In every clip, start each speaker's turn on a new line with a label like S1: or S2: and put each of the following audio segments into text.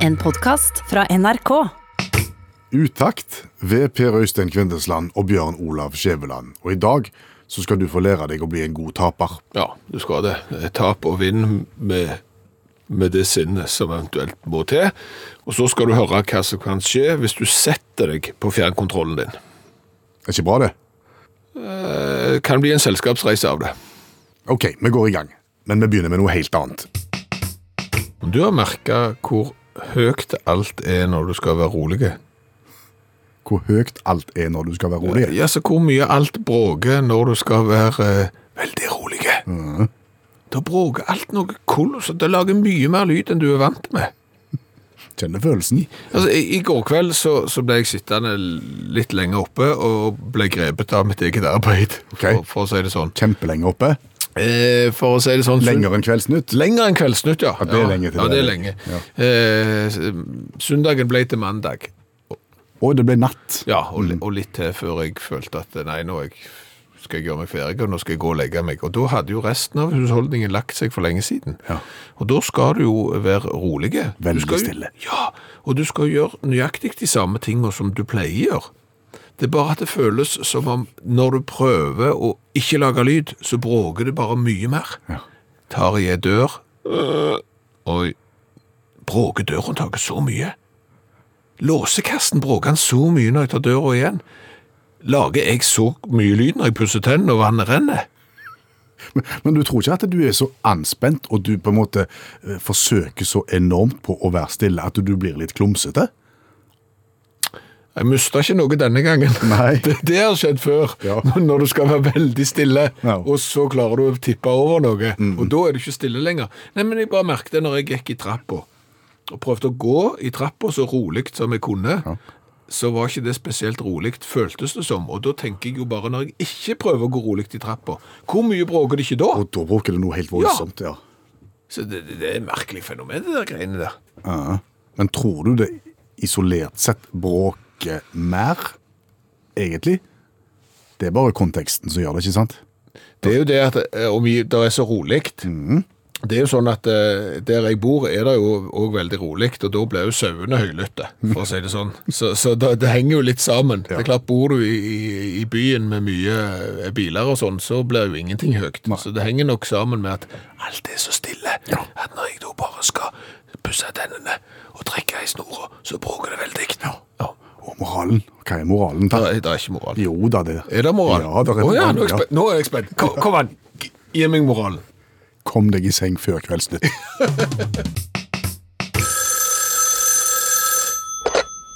S1: En podkast fra NRK.
S2: Utakt ved Per Øystein Kvindesland og Bjørn Olav Skjæveland. Og i dag så skal du få lære deg å bli en god taper.
S3: Ja, du skal det. Tap og vinn med, med det sinnet som eventuelt må til. Og så skal du høre hva som kan skje hvis du setter deg på fjernkontrollen din.
S2: Er ikke bra, det?
S3: Det kan bli en selskapsreise av det.
S2: OK, vi går i gang. Men vi begynner med noe helt annet.
S3: Om Du har merka hvor høyt alt er når du skal være rolig.
S2: Hvor høyt alt er når du skal være rolig.
S3: Ja, så hvor mye alt bråker når du skal være eh, veldig rolig. Mm. Da bråker alt noe kolossalt. Det lager mye mer lyd enn du er vant med.
S2: Kjenner følelsen.
S3: Altså, i, I går kveld så, så ble jeg sittende litt lenger oppe og ble grepet av mitt eget arbeid,
S2: Ok.
S3: for, for å si det sånn.
S2: Kjempelenge oppe.
S3: Eh, for å si det sånn
S2: Lenger enn Kveldsnytt.
S3: Lenger enn Kveldsnytt, ja.
S2: det er lenge til
S3: ja,
S2: det.
S3: det er lenge. Eh, s- søndagen ble til mandag,
S2: Og det ble natt.
S3: ja, og, li- og litt til før jeg følte at nei, nå er jeg, skal jeg gjøre meg ferdig, og nå skal jeg gå og legge meg. Og da hadde jo resten av husholdningen lagt seg for lenge siden.
S2: Ja.
S3: Og da skal du jo være rolig. Du
S2: Veldig
S3: skal jo-
S2: stille.
S3: Ja, og du skal gjøre nøyaktig de samme tingene som du pleier å gjøre. Det er bare at det føles som om når du prøver å ikke lage lyd, så bråker det bare mye mer.
S2: Ja.
S3: Tar i ei dør, øh, og bråker dørhåndtaket så mye. Låsekassen bråker han så mye når jeg tar døra igjen. Lager jeg så mye lyd når jeg pusser tennene og vannet renner?
S2: Men, men du tror ikke at du er så anspent, og du på en måte eh, forsøker så enormt på å være stille at du blir litt klumsete?
S3: Jeg mista ikke noe denne gangen.
S2: Nei.
S3: Det, det har skjedd før.
S2: Ja.
S3: Når du skal være veldig stille,
S2: Ja. Mm.
S3: og så klarer du å tippe over noe. Og da er du ikke stille lenger. Nei, men jeg bare merket det når jeg gikk i trappa. Og prøvde å gå i trappa så rolig som jeg kunne. Så var ikke det spesielt rolig, føltes det som. Og da tenker jeg jo bare, når jeg ikke prøver å gå rolig i trappa, hvor mye bråker det ikke da?
S2: Og da bruker det noe helt voldsomt, ja.
S3: Så det, det, det er et merkelig fenomen, det der greiene der.
S2: Ja. Men tror du det isolert sett bråker mer, egentlig? Det er bare konteksten som gjør det, ikke sant?
S3: Det er jo det at eh, om vi- det er så roligt.
S2: Mhm.
S3: Det er jo sånn at eh, der jeg bor er det jo òg veldig roligt, og da blir jo sauene høylytte, for å si det sånn. Så, så det, det henger jo litt sammen. Det er klart, bor du i, i- i byen med mye eh, biler og sånn, så blir jo ingenting høyt. Så det henger nok sammen med at alt er så stille at når jeg da bare skal pusse tennene og trekke i snora, så bråker det veldig. Ja.
S2: Og moralen? Hva er moralen?
S3: Det,
S2: Da?
S3: er- det er ikke moral.
S2: Jo da, det
S3: Er det moral?
S2: Ja, det er
S3: Å ja,
S2: moral,
S3: nå er jeg
S2: ja.
S3: spent. Nå er jeg spent. Kom, kom an, Gi- gi meg moralen.
S2: Kom deg i seng før Kveldsnytt.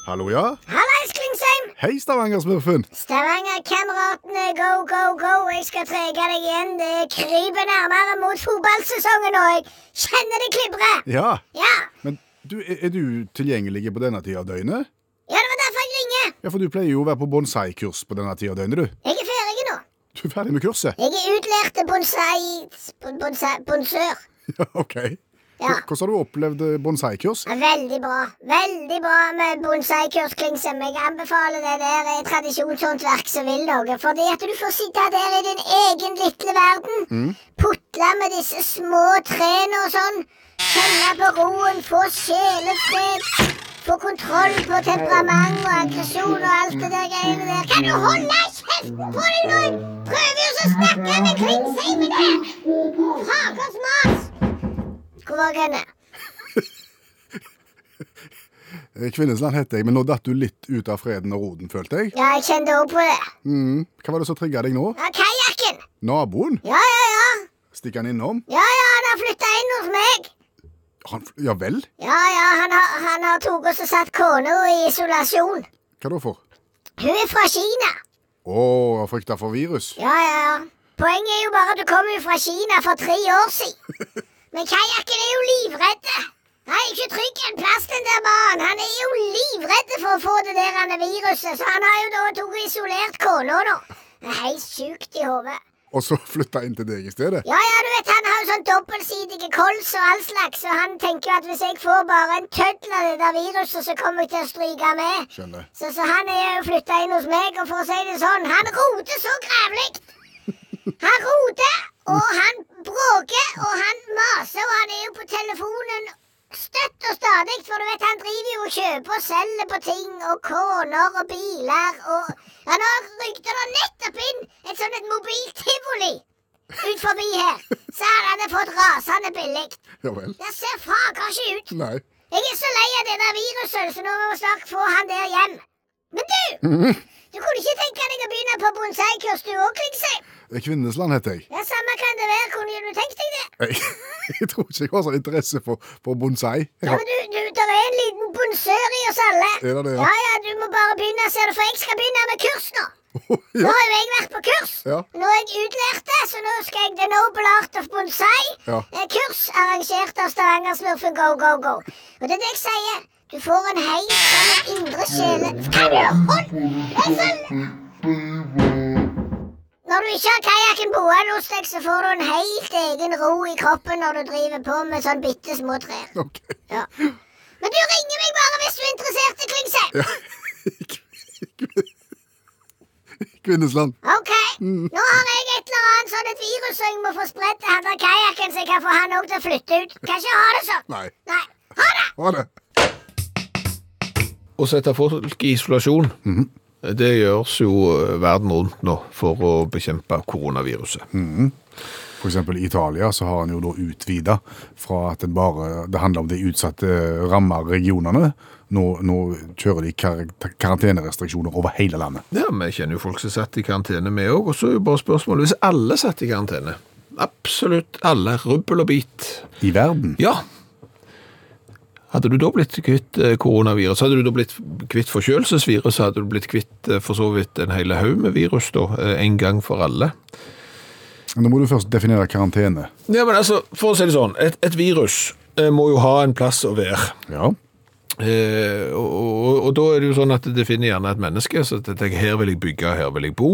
S2: Hallo, ja?
S4: Hallais, Klingsheim!
S2: Hei, Stavanger-smurfen!
S4: Stavanger-kameratene, go, go, go! Jeg skal trege deg igjen. Det kryper nærmere mot fotballsesongen, og jeg kjenner det klibre.
S2: Ja,
S4: Ja.
S2: men du, er er du tilgjengelig på denne tida av døgnet?
S4: ja, det var derfor jeg ringer.
S2: Ja, for du pleier jo å være på bonsai-kurs på denne tida av døgnet, du.
S4: Jeg er ferdig nå.
S2: Du er ferdig med kurset?
S4: Jeg er utlært til bonsai... bon- bonsai bonsør.
S2: Ja, ok.
S4: Ja.
S2: Hvordan har du opplevd eh, bonsai-kurs?
S4: Ja, Veldig bra. Veldig bra med bonsaikurs, Klingsheim. Jeg anbefaler det der er tradisjonshåndverk som vil noe. Fordi at du får sitte der i din egen lille verden. Putle med disse små trærne og sånn. Kjenne på roen, få sjelefred. Få kontroll på temperament og aggresjon og alt det der greiene der. Kan du holde kjeften på deg nå? Jeg Prøver jo så å snakke med Klingsheimen her! Hakers mas! Hvor var jeg henne?
S2: Eh, Kvinnesland heter jeg, men nå datt du litt ut av freden og roden, følte jeg.
S4: Ja, jeg kjente òg på det.
S2: Mm. Hva var det som trigga deg nå?
S4: Ja, Kajakken!
S2: Naboen?
S4: Ja, ja, ja.
S2: Stikker han innom?
S4: Ja, ja, Han har flytta inn hos meg.
S2: Han, f- ja vel?
S4: Ja, ja, Han har, han har tatt oss og satt kona i isolasjon.
S2: Hva da for?
S4: Hun er fra Kina.
S2: Å, jeg frykter for virus.
S4: Ja, ja, ja. Poenget er jo bare at du kommer jo fra Kina for tre år siden. Men kajakken er jo livredde. Han er ikke trygg en plass, den der mannen. Han er jo livredde for å få det der han er viruset, så han har jo da tatt og isolert kona nå. Det er helt sjukt i hodet.
S2: Og så flytta inn til deg i stedet?
S4: Ja, ja, du vet, han har jo sånn dobbeltsidige kols og all slags, og han tenker jo at hvis jeg får bare en tøddel av det der viruset, så kommer jeg til å stryke med.
S2: Skjønner.
S4: Så, så han er jo flytta inn hos meg, og for å si det sånn, han roter så grævlig. Han roter, og han bråker, og han maser, og han er jo på telefonen støtt og stadig, for du vet han driver jo og kjøper og selger på ting og koner og biler og Han har rykter det nettopp inn et sånt et mobiltivoli ut forbi her, så han hadde fått rasende billig.
S2: Ja vel.
S4: Det ser fager ikke ut.
S2: Nei.
S4: Jeg er så lei av det der viruset, så nå må vi snart få han der hjem. Men du!
S2: Mhm.
S4: Du kunne ikke tenke deg å begynne på bonsaikurs, du òg, Klingsheim?
S2: Kvinnesland Eh, heter jeg.
S4: Ja, samme kan det være. Kunne du tenkt deg det?
S2: Jeg, jeg tror ikke jeg har sånn interesse for, for bonsai. Jeg
S4: Ja,
S2: har,
S4: men du, du, der er en liten bonsør i oss alle.
S2: Er det det, ja?
S4: ja? ja, du må bare begynne, ser du, for jeg skal begynne med kurs nå. Nå
S2: ja.
S4: har jo jeg vært på kurs.
S2: Ja.
S4: Nå er jeg utlært, det, så nå skal jeg The Noble Art of Bonsai.
S2: Ja.
S4: eh, Kurs arrangert av Stavanger-smurfen Go Go Go. Og det er det jeg sier. Du får en hei fra den indre sjelen. Kan du holde sånn? Når du ikke har kajakken boende hos deg, så får du en helt egen ro i kroppen når du driver på med sånn bitte små trær.
S2: Ok.
S4: Ja. Men du ringer meg bare hvis du er interessert i Klingse.
S2: Ja. Kvinnesland.
S4: Ok, nå har jeg et eller annet sånn et virus som jeg må få spredt til han der kajakken, så jeg kan få han òg til å flytte ut. Kan ikke ha det sånn.
S2: Nei.
S4: Nei. Ha det!
S2: Ha det.
S3: Å sette folk i isolasjon, det gjøres jo eh, verden rundt nå for å bekjempe koronaviruset.
S2: For eksempel i Italia så har en jo da utvida fra at det bare det handler om de utsatte ramma regionene. Nå, nå kjører de kar karantenerestriksjoner over hele landet.
S3: Ja, vi kjenner jo folk som satt i karantene vi òg, og så er jo bare spørsmålet hvis alle satt i karantene. Absolutt alle, rubbel og bit.
S2: I verden.
S3: Ja. Hadde du da blitt kvitt eh, koronavirus, hadde du da blitt kvitt forkjølelsesvirus, hadde du blitt kvitt eh, for så vidt en hel haug med virus da, eh, en gang for alle.
S2: Nå må du først definere karantene.
S3: Ja, men altså, for å si det sånn, et, et virus eh, må jo ha en plass å være.
S2: Ja.
S3: Eh, og, og, og da er det jo sånn at det finner gjerne et menneske, så at jeg tenker, her vil jeg bygge, her vil jeg bo.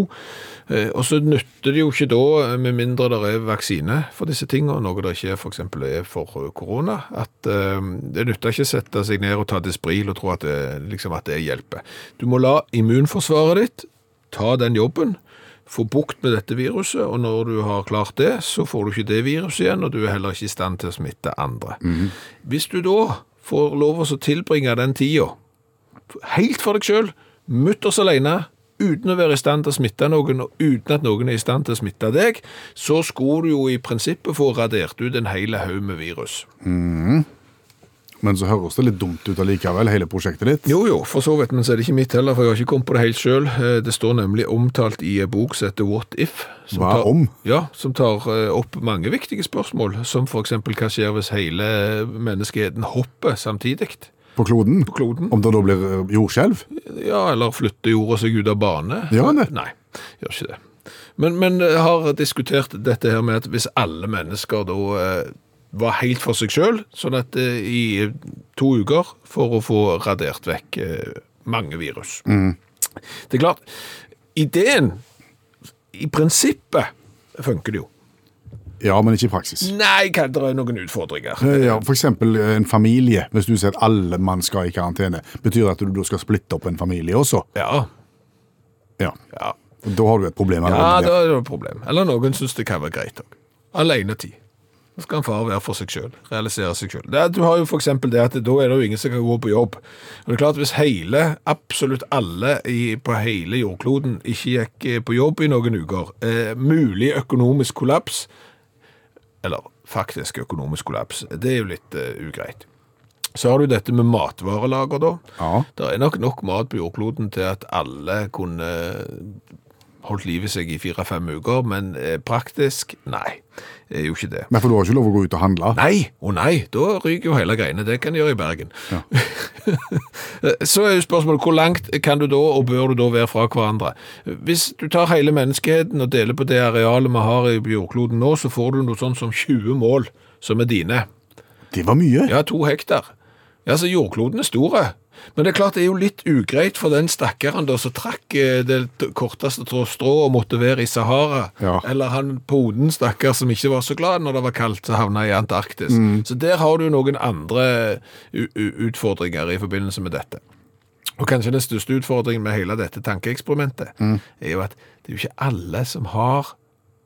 S3: Eh, og så nytter det jo ikke da, med mindre det er vaksine for disse tingene, noe det ikke for eksempel er for eh, korona, at eh, det nytter ikke å sette seg ned og ta dispril og tro at det, liksom, at det hjelper. Du må la immunforsvaret ditt ta den jobben, få bukt med dette viruset, og når du har klart det, så får du ikke det viruset igjen, og du er heller ikke i stand til å smitte andre. Hvis du da får lov å tilbringe den tida, helt for deg sjøl, mutters alene, uten å være i stand til å smitte noen, og uten at noen er i stand til å smitte deg, så skulle du jo i prinsippet få radert ut en hel haug med virus.
S2: Men så høres det litt dumt ut allikevel, hele prosjektet ditt.
S3: Jo, jo, for så vidt, men så er det ikke mitt heller, for jeg har ikke kommet på det helt sjøl. Det står nemlig omtalt i en bok som heter What If? Som
S2: Hva om?
S3: Ja, som tar eh, opp mange viktige spørsmål, som f.eks. hva skjer hvis hele menneskeheten hopper samtidig?
S2: På kloden.
S3: På kloden.
S2: Om det da blir eh, jordskjelv?
S3: Ja, eller flytter jorda seg ut av bane?
S2: Gjør den det?
S3: Nei, gjør ikke det. Men, men jeg har diskutert dette her med at hvis alle mennesker da eh, var helt for seg sjøl, sånn at eh, i to uker for å få radert vekk eh, mange virus.
S2: Mm.
S3: Det er klart, ideen I prinsippet funker det jo.
S2: Ja, men ikke i praksis.
S3: Nei, kan det er noen utfordringer.
S2: Eh, Ja, for eksempel eh, en familie. Hvis du sier at alle mann skal i karantene, betyr det at du da skal splitte opp en familie også?
S3: Ja,
S2: Ja.
S3: ja.
S2: Da har du et problem.
S3: Ja,
S2: allerede
S3: da
S2: der.
S3: er det et problem. Eller noen syns det kan være greit òg. Alenetid. Da skal en far være for seg sjøl, realisere seg sjøl. Du har jo f.eks. det at da er det jo ingen som kan gå på jobb. Og det er klart Hvis hele, absolutt alle i, på hele jordkloden ikke gikk eh, på jobb i noen uker, eh, mulig økonomisk kollaps Eller faktisk økonomisk kollaps. Det er jo litt eh, ugreit. Så har du dette med matvarelager, da.
S2: Ja.
S3: Det er nok nok mat på jordkloden til at alle kunne holdt livet seg i fire-fem uker, men eh, praktisk, nei, det er jo ikke det.
S2: Nei, for du har ikke lov å gå ut og handle.
S3: Nei, å nei, da ryker jo hele greiene, det kan de gjøre i Bergen. Så er jo spørsmålet, hvor langt kan du da, og bør du da være fra hverandre? Hvis du tar hele menneskeheten og deler på det arealet vi har i jordkloden nå, så får du noe sånn som 20 mål som er dine.
S2: Det var mye.
S3: Ja, to hektar. Ja, så jordkloden er store. Men det er klart det er jo litt ugreit for den stakkaren da som trakk eh, det t- korteste trå- strå og måtte være i Sahara.
S2: Ja.
S3: Eller han poden stakkar som ikke var så glad når det var kaldt, så havna i Antarktis.
S2: Mm.
S3: Så der har du noen andre eh, u u utfordringer i forbindelse med dette. Og kanskje den største utfordringen med hele dette tankeeksperimentet er jo at det er jo ikke alle som har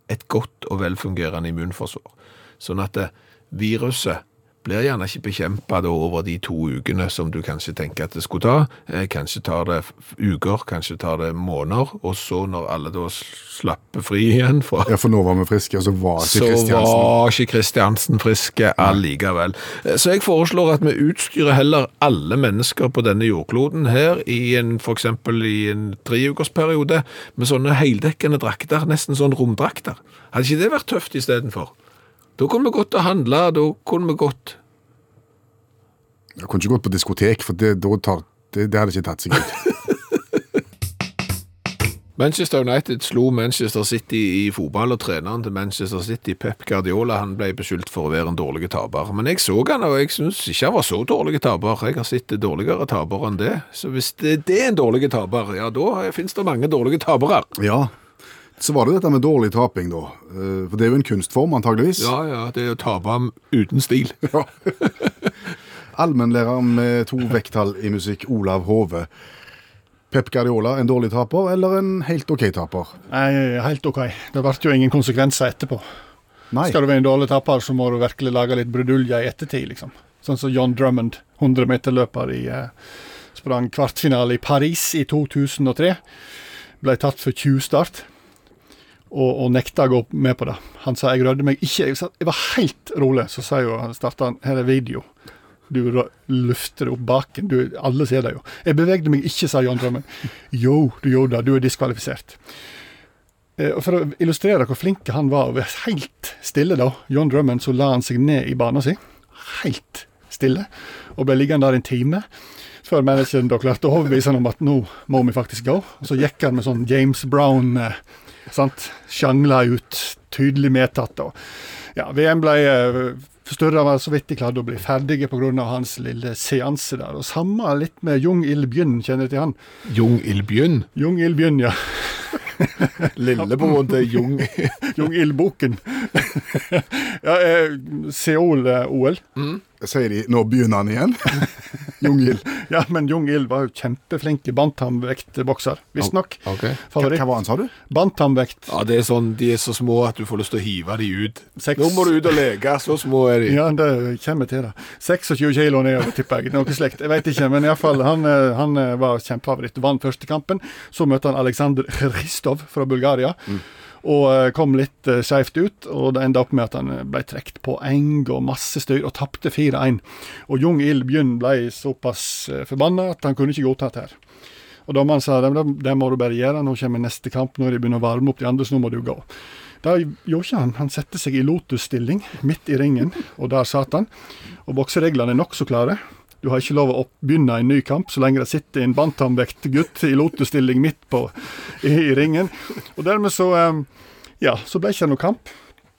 S3: et godt og velfungerende immunforsvar. Sånn at eh, viruset blir gjerne ikke bekjempa da over de to ukene som du kanskje tenker at det skulle ta. Eh, Kanskje tar det f- uker, kanskje tar det måneder, og så når alle da sl- slapper fri igjen fra
S2: Ja, for nå var vi friske, og så var
S3: så
S2: ikke Kristiansen
S3: var ikke Kristiansen friske allikevel. Eh, Så jeg foreslår at vi utstyrer heller alle mennesker på denne jordkloden her i en, for eksempel i en treukersperiode med sånne heldekkende drakter, nesten sånn romdrakter. Hadde ikke det vært tøft istedenfor? Da kunne vi gått og handla, da kunne vi gått
S2: Jeg kunne ikke gått på diskotek, for det, da tar, det, det hadde ikke tatt seg ut.
S3: Manchester United slo Manchester City i fotball, og treneren til Manchester City, Pep Guardiola, han ble beskyldt for å være en dårlig taper. Men jeg så han, og jeg syns ikke han var så dårlig taper. Jeg har sett dårligere tapere enn det. Så hvis det, det er en dårlig taper, ja da finnes det mange dårlige tapere.
S2: Ja. Så var det dette med dårlig taping, da. Eh, For det er jo en kunstform, antageligvis.
S3: Ja, ja, det er å tape uten stil.
S2: Ja. Allmennlærer med to vekttall i musikk, Olav Hove. Pep Guardiola, en dårlig taper eller en helt OK taper?
S5: Nei, helt OK. Det ble jo ingen konsekvenser etterpå.
S2: Nei.
S5: Skal du være en dårlig tapper, så må du virkelig lage litt brudulje i ettertid, liksom. Sånn som John Drummond, 100-meterløper i eh, Sprang kvartfinale i Paris i 2003. Ble tatt for 20-start, og, og nekta å gå med på det. Han sa 'jeg rødde meg ikke', jeg, sa, jeg var helt rolig. Så sa jo han starta han 'her er video'. Du rø- løfter opp baken. Du, alle ser det jo. 'Jeg bevegde meg ikke', sa John Drummond. Jo, du gjorde det. Du er diskvalifisert. Eh, og For å illustrere hvor flink han var og var helt stille da, John Drummond, så la han seg ned i banen sin. Helt stille. Og ble liggende der en time. Før manageren da klarte å overbevise han om at nå må vi faktisk gå. Og så gikk han med sånn James Brown eh, sant? Sjangla ut, tydelig medtatt. Og ja, VM ble eh, forstørra, var så vidt de klarte å bli ferdige pga. hans lille seanse der. Og samme litt med Jung Il Bjørn, kjenner du til han?
S3: Jung Ilbjørn.
S5: Jung Il Bjørn, ja.
S3: Lille på en måte Jung
S5: Jung Il-boken. ja, eh, Seoul-OL.
S2: Sier de 'nå begynner han igjen'? Jungil.
S5: Ja, men Jung Il var jo kjempeflink i bantamvektbokser, visstnok.
S3: Ok.
S2: Hva,
S5: Favoritt.
S2: hva var han, sa du?
S5: Bantamvekt.
S3: Ja, det er sånn, De er så små at du får lyst til å hive de ut.
S5: Seks.
S3: Nå må du ut og leke, så små er de.
S5: Ja, det kommer til det. 26 kilo nedover, tipper jeg. Noe slikt. Jeg vet ikke, men iallfall han, eh, han eh, var kjempefavoritt. Vant første kampen. Så møtte han Aleksandr Hristov fra Bulgaria. Og eh, kom litt eh, skeivt ut, og det enda opp med at han eh, ble trukket på eng og masse styr, og tapte 4-1. Og Jung Il Bjørn ble såpass eh, forbanna at han kunne ikke godta dette her. Og dommeren sa det, det må du bare gjøre, nå kommer neste kamp, når de begynner å varme opp de andre, så nå må du gå. Det gjorde ikke han. Han satte seg i lotusstilling midt i ringen, og der satt han. Og boksereglene er nokså klare. Du har ikke lov å opp- begynne en ny kamp så lenge det sitter en bantamvektgutt i lotusstilling midt på i, i ringen. Og dermed så eh, Ja, så ble ikke det noe kamp.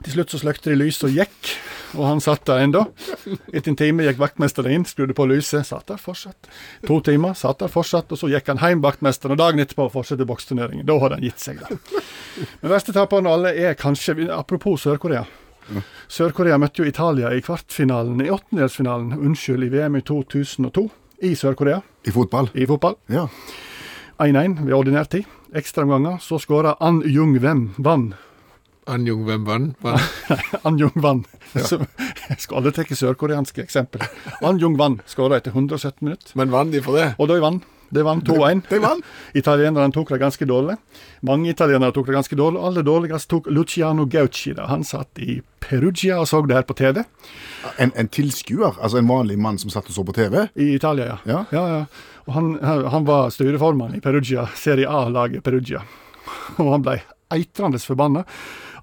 S5: Til slutt så sløkte de lyset og gikk, og han satt der ennå. Etter en time gikk vaktmesteren inn, skrudde på lyset, satt der fortsatt. To timer, satt der fortsatt, og så gikk han hjem, vaktmesteren, og dagen etterpå fortsatte boksturneringen. Da hadde han gitt seg, da. Men verste taperen av alle er kanskje Apropos Sør-Korea. Sør-Korea møtte jo Italia i kvartfinalen, i åttendedelsfinalen, unnskyld, i VM i 2002 i Sør-Korea
S2: I fotball?
S5: i fotball.
S2: Ja.
S5: 1-1 ved ordinær tid. Ekstraomganger. Så skåra An Jung Wem Van.
S3: An Jung Wem Wan. Wan.
S5: An Jung Van. Som- Jeg skal aldri trekke sørkoreanske eksempel. An Jung Van skåra etter 117 minutter.
S3: Men vant de for det?
S5: Og de vann. De vant 2-1.
S2: de vann.
S5: Italienerne tok det ganske dårlig. Mange italienere tok det ganske dårlig. Aller dårligst tok Luciano Gauci det. Han satt i Perugia og så det her på TV.
S2: En, en tilskuer? Altså en vanlig mann som satt og så på TV?
S5: I Italia, ja.
S2: Ja.
S5: ja, ja. Og han, han var styreformann i Perugia, Serie A-laget Perugia. Og han ble eitrende forbanna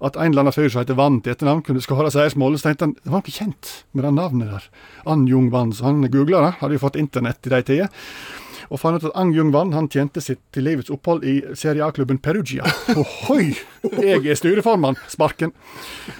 S5: at en eller annen fyr som heter Vann til etternavn, kunne skåre seiersmålet. Så tenkte han det var ikke kjent med det navnet der. An Jung Vann. Så han googla det, hadde jo fått internett i de tider. Og fant ut at Ang Jung Vann han tjente sitt til livets opphold i Serie A-klubben Perugia. Ohoi! Jeg er styreformann! Sparken.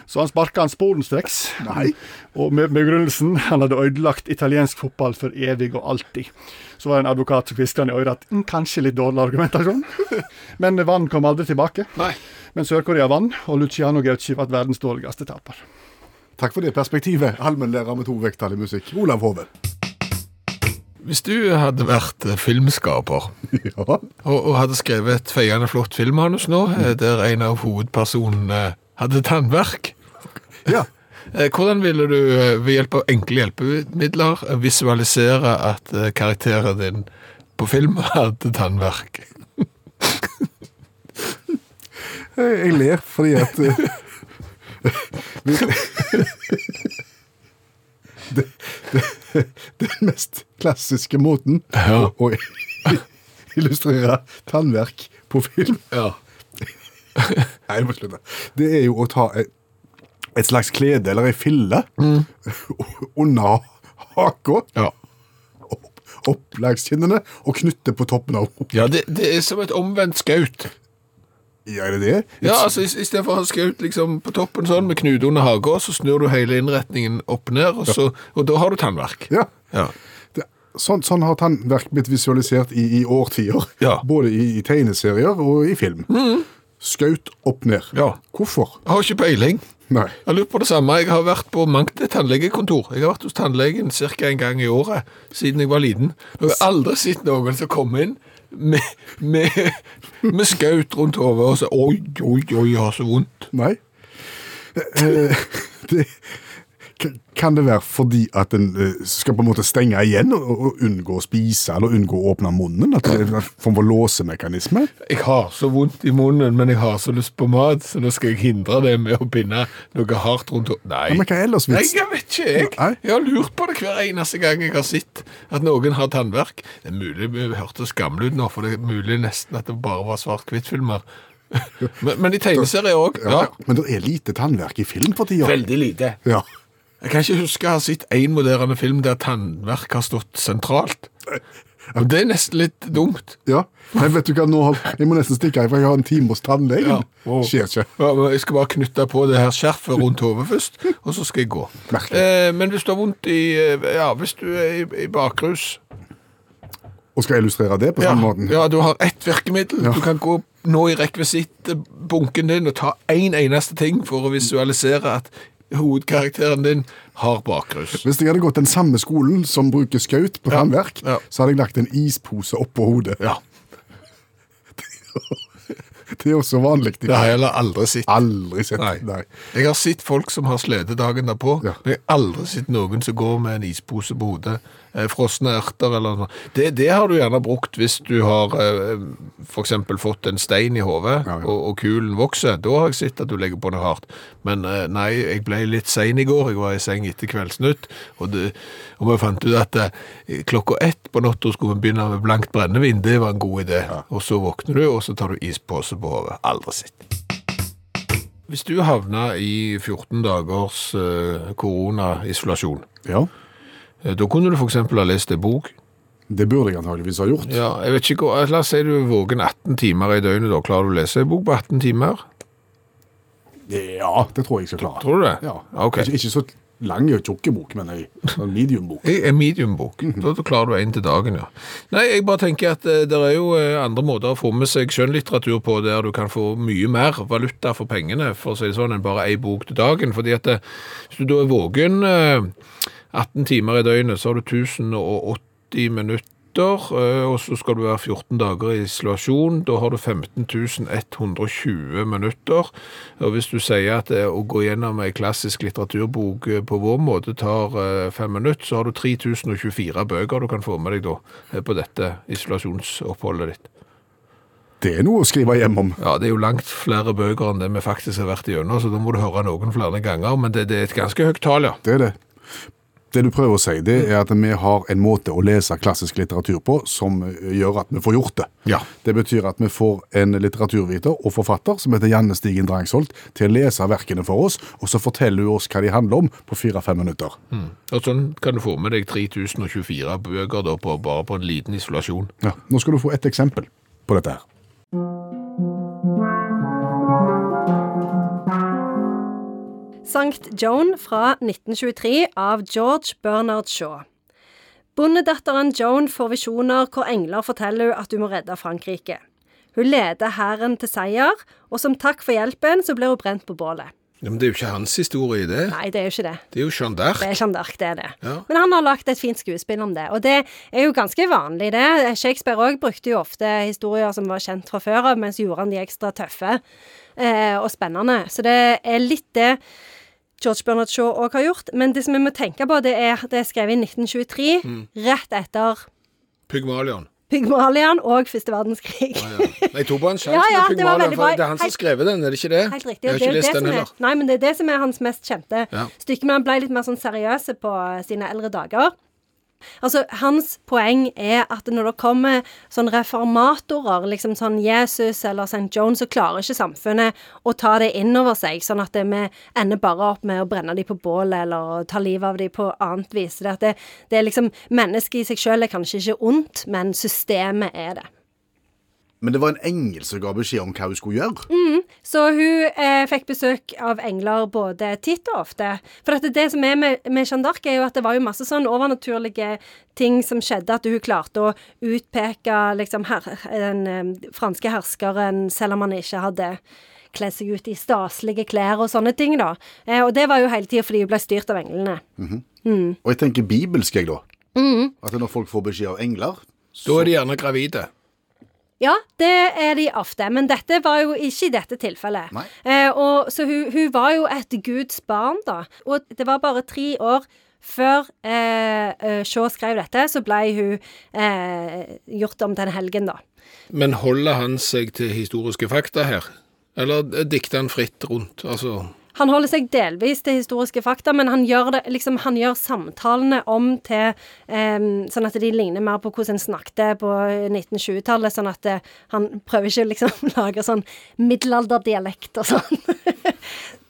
S5: Så han sparka han sporenstreks. Nei. Og med begrunnelsen han hadde ødelagt italiensk fotball for evig og alltid. Så var det en advokat som hvisket han i øret at «Mm, kanskje litt dårlig argumentasjon. Men Vann kom aldri tilbake.
S3: Nei.
S5: Men Sør-Korea vant, og Luciano Gauci ble verdens dårligste taper.
S2: Takk for det perspektivet, allmennlærer med to vekttall i musikk, Olav Hove.
S3: Hvis du hadde vært eh, filmskaper
S2: Ja.
S3: og, og hadde skrevet et feiende flott Mm. filmmanus nå, eh, der en av hovedpersonene hadde tannverk,
S2: ja.
S3: Eh, Hvordan ville du eh, ved hjelp av enkle hjelpemidler eh, visualisere at eh, karakteren din på film hadde tannverk?
S2: Jeg ler fordi at eh, vi- det, det, Den mest klassiske måten
S3: Ja.
S2: å, å illustrere tannverk på film
S3: Ja.
S2: Nei, jeg må slutte. Det er jo å ta et, et slags klede eller ei fille
S3: Mm.
S2: under haka,
S3: Ja,
S2: opp, opp langs kinnene, og knytte på toppen av
S3: det, det er som et omvendt skaut.
S2: Ja, er det det?
S3: Ja, altså i, i stedet for å ha skaut liksom på toppen sånn med knute under hagen, så snur du hele innretningen opp ned, og, så, og da har du tannverk.
S2: Ja.
S3: Ja.
S2: Det, sånn, sånn har tannverk blitt visualisert i, i årtier.
S3: Ja.
S2: Både i, i tegneserier og i film. Skaut opp ned.
S3: Ja.
S2: Hvorfor?
S3: Jeg har ikke peiling.
S2: Nei.
S3: Jeg lurer på det samme. Jeg har vært på mangt et tannlegekontor. Jeg har vært hos tannlegen ca. en gang i året siden jeg var liten. Og jeg har aldri sett noen som kom inn med, med, med skaut rundt hodet og så Oi, oi, oi, jeg har så vondt.
S2: Nei. Eh, det, k- kan det være fordi at en eh, skal på en måte stenge igjen og, og unngå å spise eller unngå å åpne munnen? At det er en form for låsemekanisme?
S3: Jeg har så vondt i munnen, men jeg har så lyst på mat, så nå skal jeg hindre det med å binde noe hardt rundt hodet. Nei.
S2: Ja, men hva er ellers
S3: Nei,
S2: vits?
S3: jeg vet ikke, jeg.
S2: Nei.
S3: Jeg har lurt på det hver eneste gang jeg har sett at noen har tannverk. Det er mulig vi hørtes gamle ut nå, for det er mulig nesten at det bare var svart-hvitt-filmer. Men, men i tegneserier òg. Ja.
S2: Men det er lite tannverk i film for tida.
S3: Veldig lite.
S2: Ja.
S3: Jeg kan ikke huske å ha sett én moderne film der tannverk har stått sentralt. Og det er nesten litt dumt.
S2: ja. Men vet du hva, nå har, jeg må nesten stikke her, for jeg har en time hos tannlegen.
S3: Ja. Wow.
S2: Skjer ikke.
S3: Ja, men Jeg skal bare knytte på det her skjerfet rundt hodet først, og så skal jeg gå.
S2: Merkelig.
S3: Eh, men hvis du har vondt i eh, Ja, hvis du er i, i bakrus
S2: Og skal jeg illustrere det på
S3: ja,
S2: samme måten?
S3: ja, du har ett virkemiddel. Du kan gå nå i rekvisittbunken din og ta én en eneste ting for å visualisere at hovedkarakteren din har bakrus.
S2: Hvis jeg hadde gått den samme skolen som bruker skaut på tannverk,
S3: Ja.
S2: så hadde jeg lagt en ispose oppå hodet.
S3: Ja.
S2: Det er også vanlig.
S3: Det har jeg heller aldri sett.
S2: Aldri sett.
S3: Nei.
S2: Nei.
S3: Jeg har sett folk som har slede dagen derpå,
S2: Ja.
S3: men jeg har aldri sett noen som går med en ispose på hodet. eh, Frosne erter eller noe. Det, det har du gjerne brukt hvis du har eh, for eksempel fått en stein i hodet,
S2: Ja, ja.
S3: og, og kulen vokser. Da har jeg sett at du legger på noe hardt. Men eh, nei, jeg ble litt sein i går. Jeg var i seng etter Kveldsnytt, og, det, og vi fant ut at eh, klokka ett på natta skulle vi begynne med blankt brennevin. Det var en god idé. Og så våkner du, og så tar du ispose på hodet. Aldri sett. Hvis du havna i 14 dagers eh, koronaisolasjon,
S2: Ja,
S3: eh, da kunne du f.eks. ha lest en bok.
S2: det burde jeg antageligvis ha gjort.
S3: Ja, jeg vet ikke, hva- La oss si du er våken 18 timer i døgnet. Da klarer du å lese en bok på 18 timer?
S2: Ja, det tror jeg jeg skal klare.
S3: Tror du det?
S2: Ja.
S3: Ok.
S2: Ikke, ikke så lang og tjukke bok, men ei sånn medium-bok.
S3: I en medium-bok. da, da klarer du en til dagen, ja. Nei, jeg bare tenker at eh, det er jo eh, andre måter å få med seg skjønnlitteratur på, der du kan få mye mer valuta for pengene, for å si det sånn, enn bare ei bok til dagen. Fordi at eh, hvis du da er våken eh, 18 timer i døgnet, så har du 1080 minutter, eh, og så skal du være 14 dager i isolasjon. Da har du 15.120 minutter. Og hvis du sier at eh, å gå gjennom ei klassisk litteraturbok eh, på vår måte tar eh, fem minutter, så har du 3024 bøker du kan få med deg da eh, på dette isolasjonsoppholdet ditt.
S2: Det er noe å skrive hjem om.
S3: Ja, det er jo langt flere bøker enn det vi faktisk har vært igjennom, så da må du høre noen flere ganger, men det, det er et ganske høyt tall, ja.
S2: Det er det. Det du prøver å si, det er at vi har en måte å lese klassisk litteratur på som eh, gjør at vi får gjort det.
S3: Ja.
S2: Det betyr at vi får en litteraturviter og forfatter som heter Janne Stigen Drangsholt til å lese verkene for oss, og så forteller hun oss hva de handler om på fire-fem minutter.
S3: Og sånn kan du få med deg 3024 bøker da på, bare på en liten isolasjon.
S2: Ja. Nå skal du få et eksempel på dette her.
S6: Sankt Joan fra 1923 av George Bernard Shaw. Bondedatteren Joan får visjoner hvor engler forteller hun at hun må redde Frankrike. Hun leder hæren til seier, og som takk for hjelpen så blir hun brent på bålet.
S3: men det er jo ikke hans historie, det.
S6: Nei, det er jo ikke det.
S3: Det er jo Jeanne d'Arc.
S6: Det er Jeanne d'Arc, det er det.
S3: Ja.
S6: Men han har lagt et fint skuespill om det, og det er jo ganske vanlig, det. Shakespeare òg brukte jo ofte historier som var kjent fra før av, mens gjorde han de ekstra tøffe eh, og spennende. Så det er litt det George Bernard Shaw òg har gjort. Men det som vi må tenke på, det er at det er skrevet i 1923, rett etter
S3: Pygmalion.
S6: Pygmalion og første verdenskrig.
S3: Jeg tok bare en sjanse
S6: Ja, ja,
S3: med
S6: det var
S3: Pygmalion,
S6: veldig
S3: for
S6: bra.
S3: det er han som har
S6: Helt-
S3: skrevet den, er det ikke det?
S6: Helt riktig.
S3: Jeg
S6: og
S3: har
S6: det er
S3: ikke
S6: jo
S3: lest
S6: det
S3: den
S6: som er,
S3: heller.
S6: nei, men det er det som er hans mest kjente
S3: Ja.
S6: stykke. Men han ble litt mer sånn seriøse på sine eldre dager. Altså, Hans poeng er at når det kommer sånn reformatorer, liksom sånn Jesus eller St. John, så klarer ikke samfunnet å ta det inn over seg, sånn at det- vi ender bare opp med å brenne dem på bålet eller ta livet av dem på annet vis. Det, at det, det er liksom, Mennesket i seg sjøl er kanskje ikke ondt, men systemet er det.
S7: Men det var en engel som ga beskjed om hva hun skulle gjøre.
S6: Så hun eh, fikk besøk av engler både titt og ofte. For at det som er med, med Jeanne d'Arc, er jo at det var jo masse sånn overnaturlige ting som skjedde. At hun klarte å utpeke liksom, her, den eh, franske herskeren, selv om han ikke hadde kledd seg ut i staselige klær og sånne ting, da. Eh, og det var jo hele tida fordi hun ble styrt av englene.
S7: Og jeg tenker bibelsk, jeg, da.
S6: Mm.
S7: At når folk får beskjed av engler
S3: Da er de gjerne gravide.
S6: Ja, det er de ofte, men dette var jo ikke i dette tilfellet.
S7: Nei.
S6: Eh, og, så hun, hun var jo et Guds barn, da. Og det var bare tre år før eh, eh, Shaw skrev dette, så ble hun eh, gjort om til en helgen, da.
S3: Men holder han seg til historiske fakta her? Eller dikter han fritt rundt? Altså,
S6: Han holder seg delvis til historiske fakta, men han gjør, det, liksom, han gjør samtalene om til em, Sånn at de ligner mer på hvordan en snakket på 1920-tallet. Sånn at eh, han prøver ikke å liksom, lage sånn middelalderdialekt og sånn.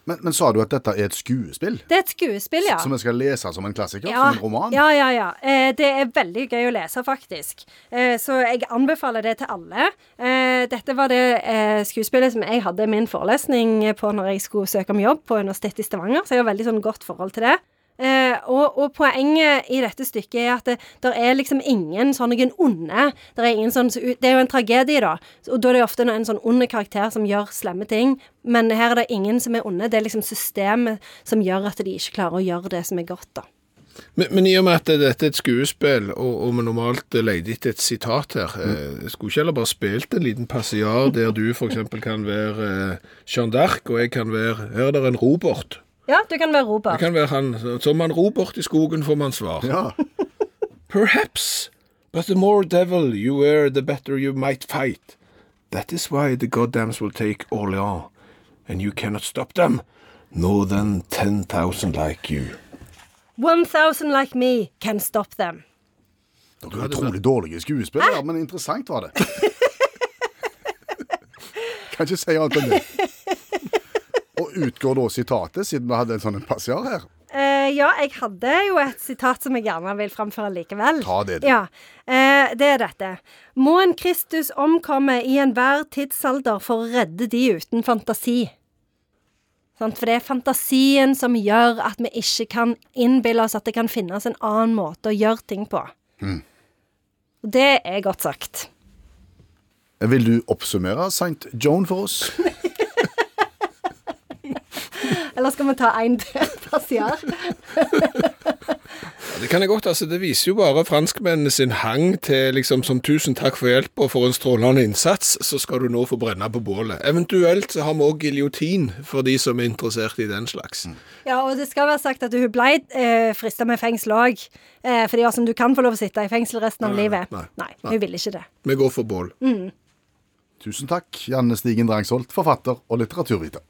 S7: men, men sa du at dette er et skuespill?
S6: Det er et skuespill, ja.
S7: Som jeg skal lese som en klassiker? Som en roman?
S6: Ja, ja, ja. Eh, det er veldig gøy å lese, faktisk. Eh, så jeg anbefaler det til alle. Eh, dette var det eh, skuespillet som jeg hadde min forelesning på når jeg skulle søke om jobb på Universitetet i Stavanger, så jeg har veldig sånn godt forhold til det. Eh, og, og poenget i dette stykket er at det der er liksom ingen sånne onde der er ingen sånn, Det er jo en tragedie, da. Og da er det ofte en sånn ond karakter som gjør slemme ting. Men her er det ingen som er onde. Det er liksom systemet som gjør at de ikke klarer å gjøre det som er godt, da.
S3: men, men i og med at dette er et skuespill, og, og vi normalt leter etter et sitat her, eh, skulle ikke heller bare spilt en liten passiar der du f.eks. kan være eh, Jeanne d'Arc, og jeg kan være Her er det en Robert.
S6: Ja, du kan være Robert.
S3: Jeg kan være han Som han Robert i skogen, får man svar.
S7: Ja.
S3: Perhaps, but the more devil you were, the better you might fight. That is why the goddams will take Orléans, and you cannot stop them, nor than 10,000 like you.
S6: 1000 like me can stop them.
S7: Dere er utrolig dårlige skuespillere, men interessant var det. kan ikke si annet enn det. Og utgår da sitatet, siden vi hadde en sånn en passiar her.
S6: Eh, ja, jeg hadde jo et sitat som jeg gjerne vil framføre likevel.
S7: Ta det, du.
S6: Ja, eh, det er dette. Må en Kristus omkomme i enhver tidsalder for å redde de uten fantasi? Sant? For det er fantasien som gjør at vi ikke kan innbille oss at det kan finnes en annen måte å gjøre ting på.
S7: Mm.
S6: Og Det er godt sagt.
S7: Vil du oppsummere St. Joan for oss?
S6: Eller skal vi ta én til, Pasiar?
S3: Ja, det kan jeg godt, altså. Det viser jo bare franskmennene sin hang til liksom som tusen takk for hjelp og for en strålende innsats, så skal du nå få brenne på bålet. Eventuelt så har vi òg giljotin for de som er interessert i den slags.
S6: Ja, og det skal være sagt at hun ble eh, frista med fengsel òg. Eh, fordi altså, du kan få lov å sitte i fengsel resten av
S3: Nei, nei,
S6: livet.
S3: nei,
S6: hun ville ikke det.
S3: Vi går for bål.
S7: Tusen takk, Janne Stigen Drangsholt, forfatter og litteraturviter.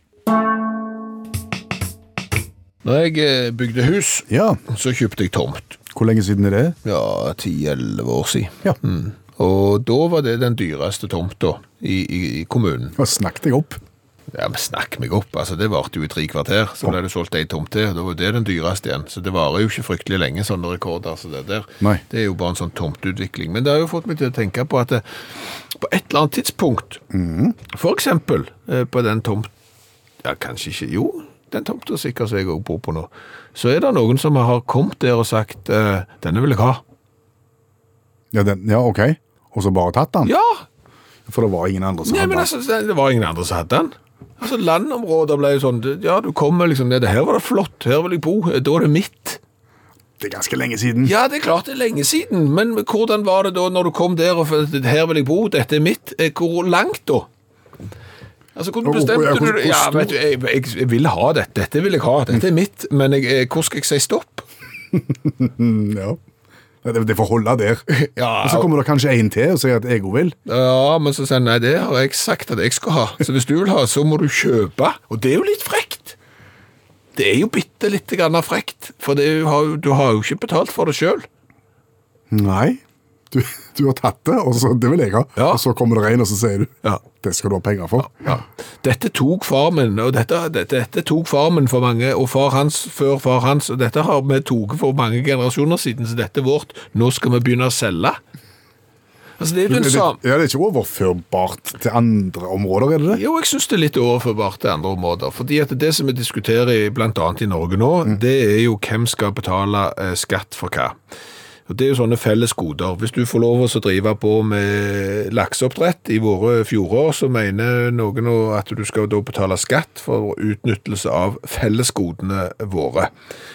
S3: Når jeg eh, bygde hus,
S2: Ja,
S3: så kjøpte jeg tomt.
S2: hvor lenge siden er det?
S3: Ja, 10-11 år siden.
S2: Ja.
S3: Mm. Og da var det den dyreste tomta i, i, i kommunen.
S2: Nå snakket jeg opp.
S3: Ja, men Snakk meg opp, altså det varte jo i tre kvarter. Så ble det solgt ei tomt til. og Da var det den dyreste igjen. Så det varer jo ikke fryktelig lenge, sånne rekorder som det der.
S2: Nei.
S3: Det er jo bare en sånn tomteutvikling. Men det har jo fått meg til å tenke på at det, på et eller annet tidspunkt, for eksempel eh, på den tomt ja, kanskje ikke, jo, den tomta sikkert som jeg også bor på nå, så er det noen som har kommet der og sagt eh, 'denne vil jeg ha'.
S2: Ja, den, ja ok. Og så bare tatt den?
S3: Ja,
S2: For det var ingen andre som
S3: Nei, men
S2: hadde
S3: altså, det det var ingen andre som hadde den. Altså, Landområder ble jo sånn det- Ja, du kommer liksom ned. Her var det flott. Her vil jeg bo. Da er det mitt.
S7: altså-
S2: den. Det er ganske lenge siden.
S3: Ja, det er klart det er lenge siden, men hvordan var det da når du kom der og følte at her vil jeg bo, dette er mitt? Eh, Hvor langt da? Altså, Hvordan
S2: Og- og-
S3: bestemte
S2: ja, hvor-
S3: du det?
S2: hvor
S3: Ja,
S2: stor-
S3: vet du, jeg, jeg, jeg vil ha dette, dette vil jeg ha, dette er mitt, men jeg, eh, hvor skal jeg si stopp?
S2: Ja. Det, det får holde der.
S3: Ja,
S2: Og så kommer det kanskje en til og sier at jeg òg vil.
S3: Ja, men så sier han nei, det har jeg sagt at jeg skal ha. Så hvis du vil ha, så må du kjøpe. Og det er jo litt frekt. Det er jo bitte lite grann frekt, for det er jo- har, jo- du har jo ikke betalt for det sjøl.
S2: Nei. Du, du har tatt det, og så, det vil jeg ha.
S3: Ja.
S2: Og så kommer det en, og så sier du
S3: Ja.
S2: det skal du ha penger for.
S3: Dette tok far min, og dette, dette, dette tok far min for mange, og far hans før far hans, og dette har vi tatt for mange generasjoner siden, så dette er vårt. Nå skal vi begynne å selge. Altså, det er jo den
S2: det,
S3: samme
S2: ja, det er ikke overførbart til andre områder, er det det?
S3: Jo, jeg synes det er litt overførbart til andre områder. fordi at det som vi diskuterer i- blant annet i Norge nå, det er jo hvem skal betale eh, skatt for hva. Og Det er jo sånne felles goder. Hvis du får lov å så drive på med lakseoppdrett i våre fjorder, så mener noen nå at du skal da betale skatt for utnyttelse av fellesgodene våre.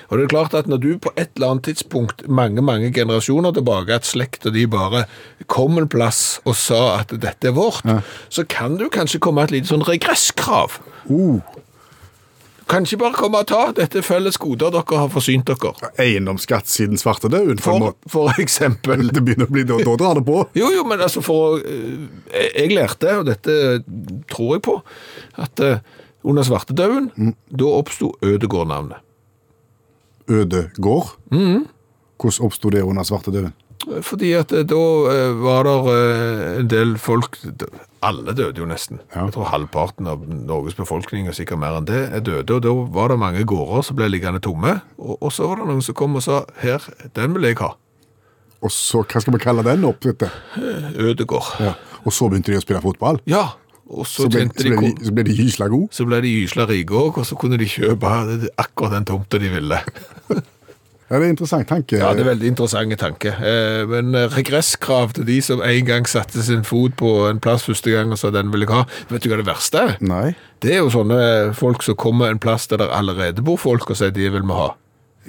S3: Og det er klart at når du på et eller annet tidspunkt, mange, mange generasjoner tilbake, at slekta de bare kom en plass og sa at dette er vårt, så kan du kanskje komme et lite sånn regresskrav.
S2: Oh,
S3: Kan ikke bare komme og ta dette er felles goder dere har forsynt dere.
S2: Eiendomsskatt siden svartedauden, på en
S3: For,
S2: måte.
S3: for eksempel.
S2: Det begynner å bli, da, da drar det på.
S3: Jo, jo, men altså for å eh, Jeg lærte, og dette tror jeg på, at eh, under svartedauden,
S2: Mm.
S3: da oppsto Ødegård-navnet.
S2: Øde gård.
S3: Mm.
S2: Hvordan oppsto det under svartedauden?
S3: Fordi at eh, da eh, var det en del folk Alle døde jo nesten. Jeg tror halvparten av Norges befolkning, og sikkert mer enn det, er døde. Og da var det mange gårder som ble liggende tomme. Og, og så var det noen som kom og sa her, den vil jeg ha.
S2: Og så, hva skal vi kalle den opp, dette?
S3: Ødegård. Ja.
S2: Og så begynte de å spille fotball.
S3: og så,
S2: Så ble,
S3: tjente
S2: så ble,
S3: de
S2: de, så ble de gysla gode.
S3: Så ble de gysla rike òg, og så kunne de kjøpe akkurat den tomta de ville.
S2: Ja, det er en interessant tanke.
S3: Ja, det er veldig interessante tanke. Eh, Men regresskrav til de som en gang satte sin fot på en plass første gang og sa den vil jeg ha. Vet du hva det verste er?
S2: Nei.
S3: Det er jo sånne eh, folk som kommer en plass der det allerede bor folk og sier de vil vi ha.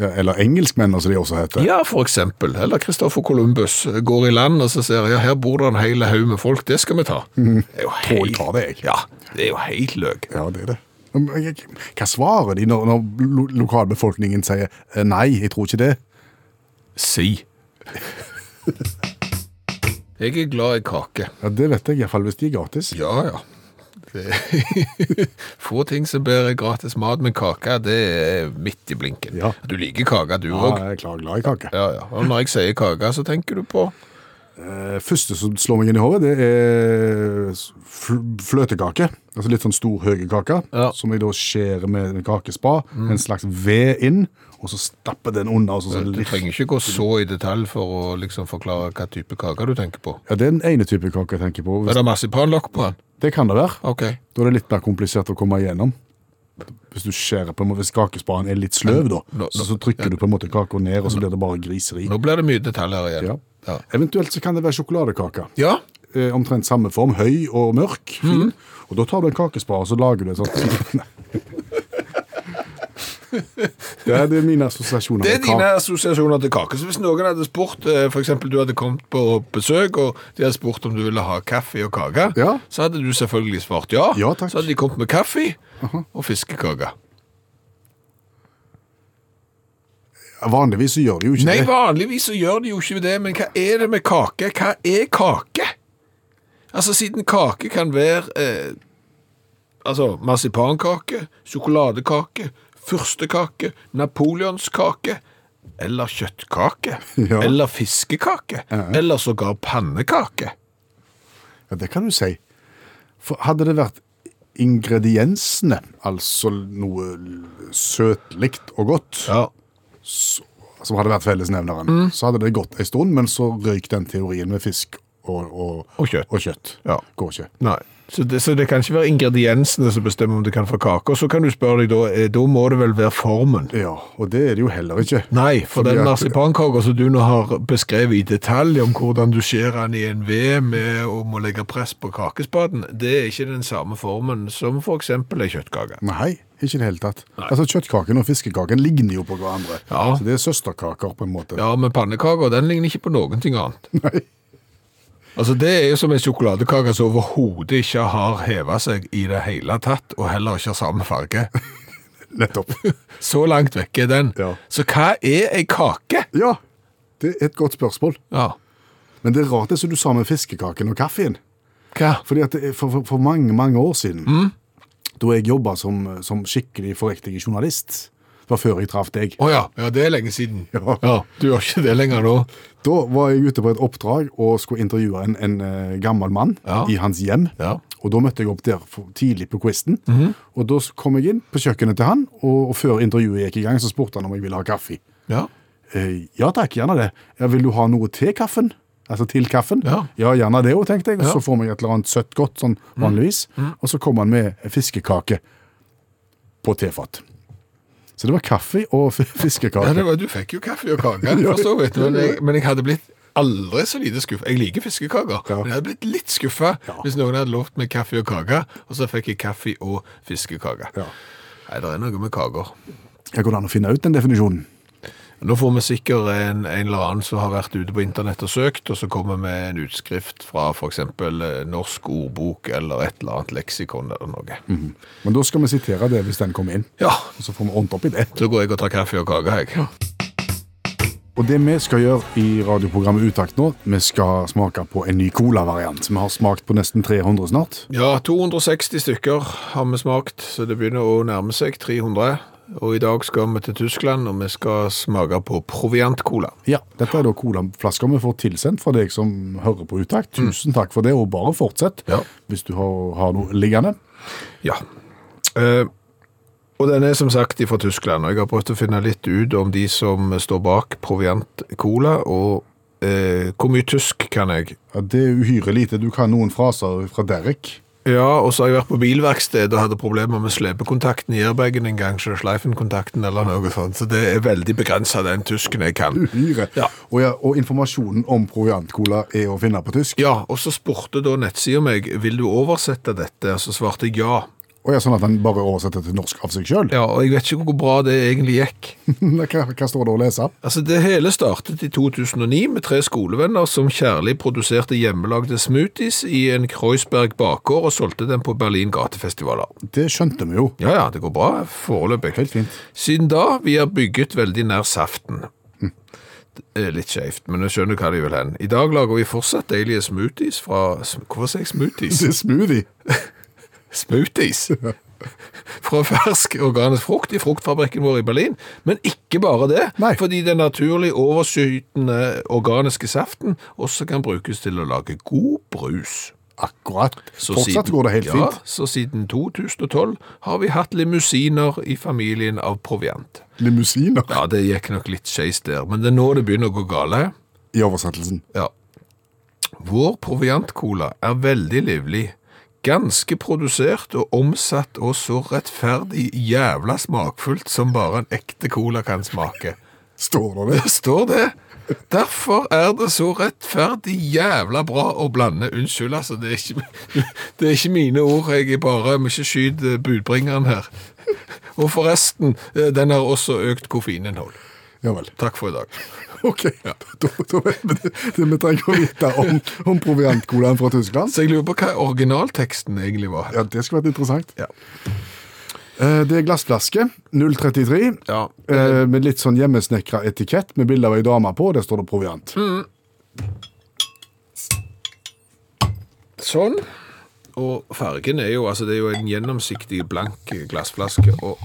S2: Ja, eller engelskmenn, som de også heter.
S3: Ja, for eksempel. Eller Kristoffer Columbus eh, går i land og så sier ja, her bor det en hel haug med folk, det skal vi ta. Det er jo
S2: Tror jeg tar det, jeg.
S3: Ja, det er jo helt løk.
S2: Ja, det er det. Men jeg- jeg- Hva svarer de når, når lo lokalbefolkningen sier eh, nei, jeg tror ikke det?
S3: Si. Jeg er glad i kake.
S2: Ja, Det vet jeg iallfall hvis de er gratis.
S3: Ja, ja. Det... Få ting som bærer gratis mat, men kake, det er midt i blinken.
S2: Ja.
S3: Du liker kake, du
S2: Ja,
S3: òg.
S2: jeg er klar, glad i kake.
S3: Ja, ja. Og når jeg sier kake, så tenker du på
S2: Eh, Første som slår meg inn i hodet, det er s- fl- fløtekake. Altså litt sånn stor, høy kake,
S3: Ja.
S2: som jeg da skjærer med en kakespa. En slags ved inn, og så stapper den under. Og så, så
S3: Du
S2: litt...
S3: trenger ikke gå så i detalj for å liksom forklare hva type kake du tenker på.
S2: Ja, Det er den ene type kake jeg tenker på.
S3: Er det marsipanlokk på den?
S2: Det kan det være.
S3: Ok.
S2: Da er det litt mer komplisert å komme igjennom. Hvis du skjærer på en måte, hvis kakespaden er litt sløv, da,
S3: Nå- nå-
S2: så, så trykker du på en måte kaka ned, og så blir det bare griseri.
S3: Nå blir det mye detaljer igjen.
S2: Ja.
S3: Ja.
S2: Eventuelt så kan det være sjokoladekake.
S3: ja.
S2: Eh, omtrent samme form, høy og mørk.
S3: Mm.
S2: fin. Og da tar du en kakespade og så lager du en sånn Det er, det er mine assosiasjoner.
S3: Det er
S2: med
S3: dine
S2: kake.
S3: assosiasjoner til kake. Så hvis noen hadde spurt, eh, for eksempel du hadde kommet på besøk, og de hadde spurt om du ville ha kaffe og kake,
S2: Ja.
S3: så hadde du selvfølgelig svart ja.
S2: Ja, takk.
S3: Så hadde de kommet med kaffe og fiskekake.
S2: Vanligvis så gjør de jo ikke
S3: Nei,
S2: det.
S3: vanligvis så gjør de jo ikke det, men hva er det med kake? Hva er kake? Altså, siden kake kan være eh, altså, marsipankake, sjokoladekake, fyrstekake, napoleonskake, eller kjøttkake,
S2: Ja.
S3: eller fiskekake, eller sågar pannekake.
S2: Ja, det kan du si. For hadde det vært ingrediensene, altså noe søtlig og godt,
S3: Ja.
S2: som hadde vært fellesnevneren, så hadde det gått en stund, men så røyk den teorien med fisk og, og,
S3: Og kjøtt. Ja.
S2: Går ikke.
S3: Nei. Så det, så det kan ikke være ingrediensene som bestemmer om du kan få kake. Og så kan du spørre deg da, eh, da må det vel være formen?
S2: Ja, og det er det jo heller ikke.
S3: Nei, for
S2: Fordi
S3: den
S2: at-
S3: marsipankaka som du nå har beskrevet i detalj om hvordan du skjærer den i en ved med om å legge press på kakespaden, det er ikke den samme formen som for eksempel ei kjøttkake.
S2: Nei, ikke i det hele tatt. Altså Kjøttkaken og fiskekaken ligner jo på hverandre.
S3: Ja.
S2: Så det er søsterkaker, på en måte.
S3: Ja, men pannekaka den ligner ikke på noen ting annet.
S2: Nei.
S3: Altså, det er jo som en sjokoladekake som overhodet ikke har heva seg i det hele tatt, og heller ikke har samme farge.
S2: Nettopp.
S3: Så langt vekk er den.
S2: Ja.
S3: Så hva er ei kake?
S2: Ja, det er et godt spørsmål.
S3: Ja.
S2: Men det er rart det som du sa med fiskekaken og kaffen.
S3: Hva?
S2: Fordi at det, er- for, for, for mange, mange år siden, da jeg jobba som, som skikkelig forriktig journalist, det var før jeg traff deg,
S3: Å ja. ja, det er lenge siden.
S2: Ja.
S3: Du gjør ikke det lenger nå.
S2: da var jeg ute på et oppdrag og skulle intervjue en, en eh, gammel mann
S3: Ja.
S2: i hans hjem.
S3: Ja. Mhm.
S2: Og da møtte jeg opp der for, tidlig på quizen. Og da kom jeg inn på kjøkkenet til han, og, og før intervjuet gikk i gang, så spurte han om jeg ville ha kaffe.
S3: Ja.
S2: Eh, ja takk, gjerne det. Ja, vil du ha noe til kaffen? Altså til kaffen?
S3: Ja.
S2: gjerne det òg, tenkte jeg. Og
S3: Ja. Mhm.
S2: så får meg et eller annet søtt godt, sånn vanligvis. Og så kom han med fiskekake på tefat. Så det var kaffe og f-
S3: Ja, det
S2: fiskekake.
S3: var, du fikk jo kaffe og kake, for så vidt. Men jeg, men jeg hadde blitt aldri så lite skuffa. Jeg liker fiskekaker,
S2: Ja.
S3: men jeg hadde blitt litt skuffa hvis noen hadde lovt meg kaffe og kake, og så fikk jeg kaffe og fiskekake.
S2: Ja.
S3: Nei, det er noe med kaker.
S2: Jeg går det an å finne ut den definisjonen.
S3: Nå får vi sikkert en, en eller annen som har vært ute på internett og søkt, og så kommer vi med en utskrift fra f.eks. norsk ordbok eller et eller annet leksikon eller noe.
S2: Mm. Men da skal vi sitere det hvis den kommer inn.
S3: Ja,
S2: Og så får vi ordnet opp i det.
S3: så går jeg og tar kaffe og kake, jeg.
S2: Og det vi skal gjøre i radioprogrammet Utakt nå, vi skal smake på en ny colavariant. Vi har smakt på nesten 300 snart.
S3: Ja, 260 stykker har vi smakt, så det begynner å nærme seg 300. Og i dag skal vi til Tyskland, og vi skal smake på proviantcola.
S2: Ja, dette er da colaflasker vi får tilsendt fra deg som hører på Utakt. Tusen takk for det, og bare fortsett
S3: Mm. Ja.
S2: hvis du har, har noe liggende.
S3: Ja. Eh, og den er som sagt fra Tyskland, og jeg har prøvd å finne litt ut om de som står bak proviantcola, og eh, hvor mye tysk kan jeg?
S2: Ja, det er uhyre lite. Du kan noen fraser fra Derek.
S3: Ja, og så har jeg vært på bilverksted og hadde problemer med slepekontakten i airbagen en gang, så sleifenkontakten eller noe sånt, så det er veldig begrenset den tysken jeg kan.
S2: Uhyre.
S3: Ja.
S2: Og, ja, og informasjonen om proviantcola er å finne på tysk.
S3: Ja, og så spurte da nettsida meg vil du oversette dette, og så svarte jeg ja.
S2: Og ja, Sånn at den bare oversetter til norsk av seg sjøl.
S3: Ja, Og jeg vet ikke hvor bra det egentlig gikk.
S2: hva, hva står det å lese?
S3: Altså, Det hele startet i 2009 med tre skolevenner som kjærlig produserte hjemmelagde smoothies i en Kreuzberg bakgård og solgte dem på Berlin gatefestivaler.
S2: Det skjønte vi jo.
S3: Ja ja, det går bra foreløpig.
S2: Helt fint.
S3: Siden da vi har bygget veldig nær saften. Det er litt skjevt, men jeg skjønner hva de vil hen. I dag lager vi fortsatt deilige smoothies fra Hvorfor sier jeg smoothies?
S2: Det er smoothie.
S3: smoothies fra fersk organisk frukt i fruktfabrikken vår i Berlin. Men ikke bare det,
S2: Nei.
S3: fordi den naturlig overskytende organiske saften også kan brukes til å lage god brus.
S2: Akkurat.
S3: Så
S2: Fortsatt går det helt
S3: ja,
S2: fint.
S3: Så siden 2012 har vi hatt limousiner i familien av proviant.
S2: Limousiner
S3: Ja, det gikk nok litt skeis der, men det er nå det begynner å gå eh? gale.
S2: i oversettelsen.
S3: Ja. Vår proviantcola er veldig livlig. Ganske produsert og omsatt og så rettferdig jævla smakfullt som bare en ekte cola kan smake.
S2: Står det det?
S3: Det står det. Derfor er det så rettferdig jævla bra å blande. Unnskyld, altså. Det er ikke, det er ikke mine ord. Jeg er bare må ikke skyt eh, budbringeren her. Og forresten, eh, den har også økt koffeininnhold.
S2: Ja vel.
S3: Takk for i dag.
S2: Ok, da, da vet vi det, det vi trenger å vite om, om proviantcolaen fra Tyskland.
S3: Så jeg lurer på hva originalteksten egentlig var.
S2: Ja, Det skulle vært interessant.
S3: Ja.
S2: Eh, Det er glassflaske, 033,
S3: Ja.
S2: eh, med litt sånn hjemmesnekra etikett med bilde av ei dame på, og der står det proviant.
S3: Mm. Sånn. Og fargen er jo altså det er jo en gjennomsiktig, blank glassflaske. Og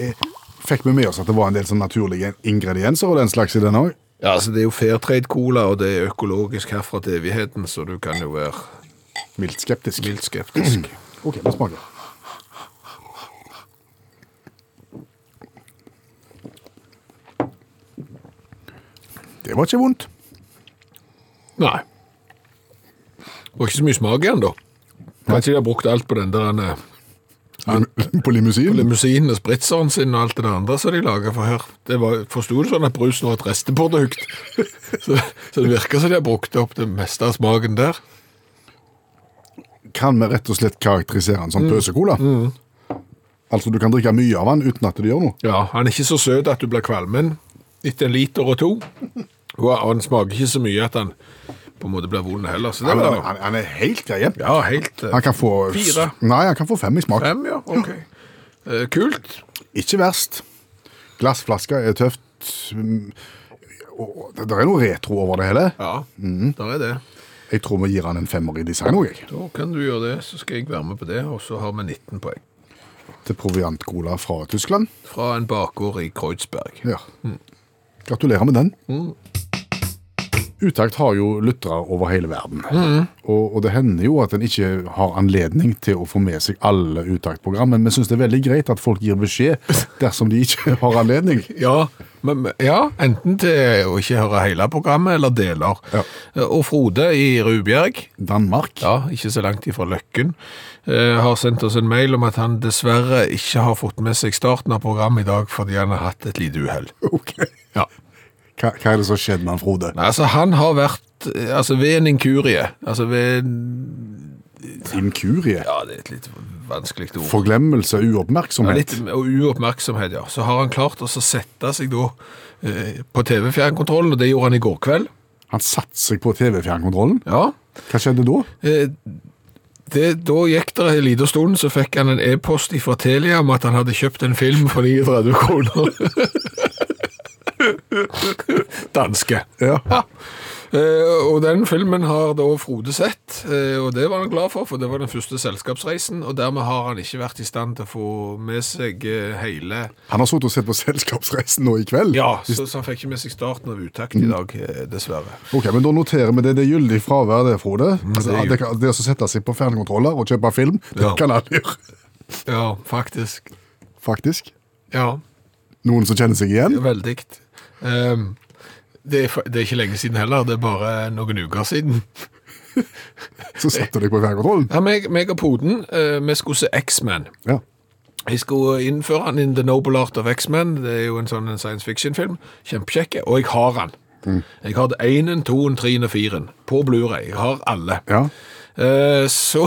S2: Eh, Fikk vi med oss at det var en del sånn naturlige ingredienser og den slags i den òg?
S3: ja, altså Det er jo Fairtrade-cola, og det er økologisk herfra til evigheten, så du kan jo være
S2: Mildt skeptisk.
S3: mildt skeptisk.
S2: Ok, vi smaker. Det var ikke vondt.
S3: Nei. Det var ikke så mye smak igjen, da. Kanskje de har brukt alt på den der eh,
S2: På limousin?
S3: limousinen og spritseren sin og alt det andre som de lager for her. Det var, Forsto du sånn at brusen var et resteprodukt? så, så det virker som de har brukt opp det meste av smaken der.
S2: Kan vi rett og slett karakterisere den som pøsekola? Altså, du kan drikke mye av den uten at det gjør noe.
S3: Ja, han er ikke så søt at du blir kvalmen etter en liter og to. Og han smaker ikke så mye at han på en måte blir vond heller. Så det
S2: Han,
S3: var
S2: han, han er helt grei hjem.
S3: Ja, helt eh,
S2: Han kan få
S3: Fire.
S2: Nei, han kan få fem i smak.
S3: Fem, ja. Ok. Eh, Kult.
S2: Ikke verst. Glassflasker er tøft. Mm, og Det det er noe retro over det hele.
S3: Ja,
S2: Mhm.
S3: der er det.
S2: Jeg tror vi gir han en femmer i design òg, jeg.
S3: Da kan du gjøre det, så skal jeg være med på det. Og så har vi 19 poeng.
S2: Til proviantcola fra Tyskland.
S3: Fra en bakgård i Kreuzberg.
S2: Ja. Gratulerer med den. Utakt har jo lyttere over hele verden. Og, og det hender jo at en ikke har anledning til å få med seg alle Utakt-program, men vi syns det er veldig greit at folk gir beskjed dersom de ikke har anledning.
S3: Ja, men, ja, enten til å ikke høre hele programmet, eller deler.
S2: Ja.
S3: Eh, Og Frode i Rubjerg,
S2: Danmark.
S3: ja, ikke så langt ifra Løkken, eh, har sendt oss en mail om at han dessverre ikke har fått med seg starten av programmet i dag, fordi han har hatt et lite uhell.
S2: Ok.
S3: Ja.
S2: Hva, hva er det som skjedde med han, Frode?
S3: Nei, altså, han har vært, eh, altså, ved en inkurie, altså, ved, en-
S2: Inkurie?
S3: ja, det er et litt vanskelig ord.
S2: Forglemmelse?
S3: Ja,
S2: Uoppmerksomhet?
S3: litt og uoppmerksomhet, ja. Så har han klart å så sette seg da eh, på TV-fjernkontrollen, og det gjorde han i går kveld.
S2: Han satte seg på TV-fjernkontrollen.
S3: Ja,
S2: Hva skjedde da?
S3: Eh, det, da gikk det en liten stund, så fikk han en e-post fra Telia om at han hadde kjøpt en film for 39 kroner. Danske. Ja. Eh, og den filmen har da Frode sett, eh, og det var han glad for, for det var den første selskapsreisen, og dermed har han ikke vært i stand til å få med seg eh, hele
S2: Han har sittet og sett på Selskapsreisen nå i kveld.
S3: Ja, så, så han fikk ikke med seg starten av uttakt i dag, eh, dessverre.
S2: Ok, men Da noterer vi det. Det er gyldig fravær, det, Frode. Altså,
S3: Mm, det er
S2: det, kan- det å sette seg på fjernkontroller og kjøpe film, det
S3: Ja.
S2: kan alle gjøre,
S3: Ja, faktisk.
S2: faktisk.
S3: Ja.
S2: Noen som kjenner seg igjen?
S3: Veldig. Ehm, det, er, fa- det er ikke lenge siden heller, det er bare noen uker siden.
S2: Så setter du deg på fjernkontrollen.
S3: Ja, meg, meg og Poden, eh, vi skulle se X-Men.
S2: Ja.
S3: Jeg skulle innføre han in The Noble Art of X-Men, det er jo en sånn en science fiction-film. Kjempekjekke, og jeg har han. Jeg har enen, toen, treen og firen på Blu-ray. Jeg har alle.
S2: ja.
S3: Eh, så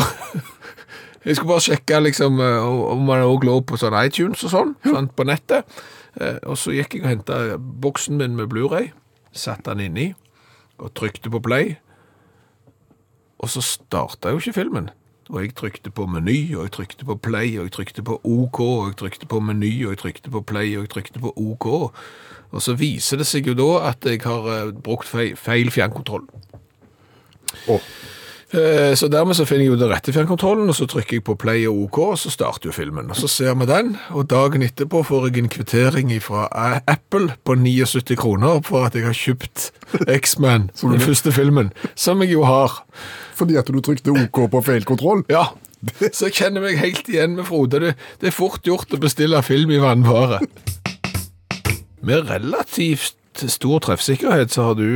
S3: Jeg skulle bare sjekke liksom, eh, om han òg lå på sånn iTunes og sånn, sant, på nettet. Eh, og så gikk jeg og henta boksen min med Blu-ray, satte den inni og trykte på play. Og så starta jo ikke filmen. Og jeg trykte på meny, og jeg trykte på play, og jeg trykte på OK, og jeg trykte på meny, og jeg trykte på play, og jeg trykte på OK. Og så viser det seg jo da at jeg har eh, brukt feil, feil fjernkontroll.
S2: Å.
S3: Eh, Så dermed så finner jeg jo den rette fjernkontrollen, og så trykker jeg på play og OK, og så starter jo filmen. Og så ser vi den, og dagen etterpå får jeg en kvittering fra Apple på 79 kroner for at jeg har kjøpt X-Man, den første filmen, som jeg jo har.
S2: Fordi at du trykte OK på feil kontroll.
S3: Ja, så jeg kjenner meg helt igjen med Frode. Det, det er fort gjort å bestille film i vannvare. Med relativt stor treffsikkerhet så har du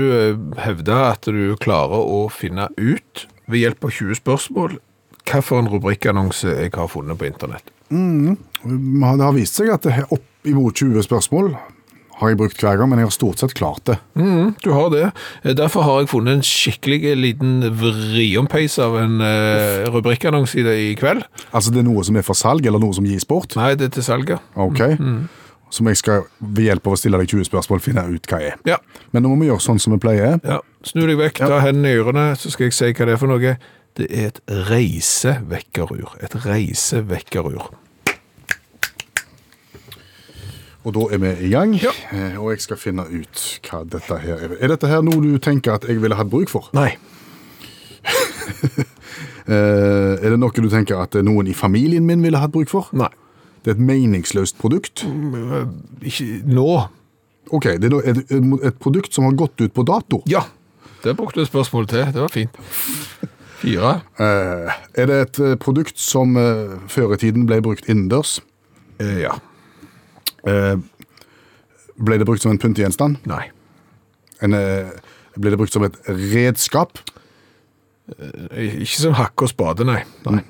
S3: hevda at du klarer å finne ut, ved hjelp av 20 spørsmål, hvilken rubrikkannonse jeg har funnet på internett. Mm.
S2: Det har vist seg at det er oppimot 20 spørsmål har jeg brukt hver gang, men jeg har stort sett klart det.
S3: Mm, du har det. Eh, Derfor har jeg funnet en skikkelig liten vriompeis av en eh, rubrikkannonse i det i kveld.
S2: Altså Det er noe som er for salg, eller noe som gis bort.
S3: Nei, det er til salget.
S2: Ok.
S3: mm.
S2: Som jeg skal ved hjelp av å stille deg 20 spørsmål finne ut hva er.
S3: Ja.
S2: Men nå må vi gjøre sånn som vi pleier.
S3: Ja, Snu deg vekk, ta hendene i ørene, så skal jeg si hva det er for noe. Det er et reisevekkerur. Et reisevekkerur.
S2: Og da er vi i gang,
S3: Ja.
S2: Eh, og jeg skal finne ut hva dette her er. Er dette her noe du tenker at jeg ville hatt bruk for?
S3: Nei.
S2: Eh, er det noe du tenker at noen i familien min ville hatt bruk for?
S3: Nei.
S2: Det er et meningsløst produkt.
S3: Ikke nå.
S2: Ok, det er da et, et produkt som har gått ut på dato.
S3: Ja. Det brukte du et spørsmål til. Det var fint. Fire.
S2: Eh, er det et eh, produkt som eh, før i tiden ble brukt innendørs?
S3: Eh, ja.
S2: Eh, ble det brukt som en pyntegjenstand?
S3: Nei.
S2: En, eh, ble det brukt som et redskap?
S3: Ikke som hakke og spade, nei. Nei.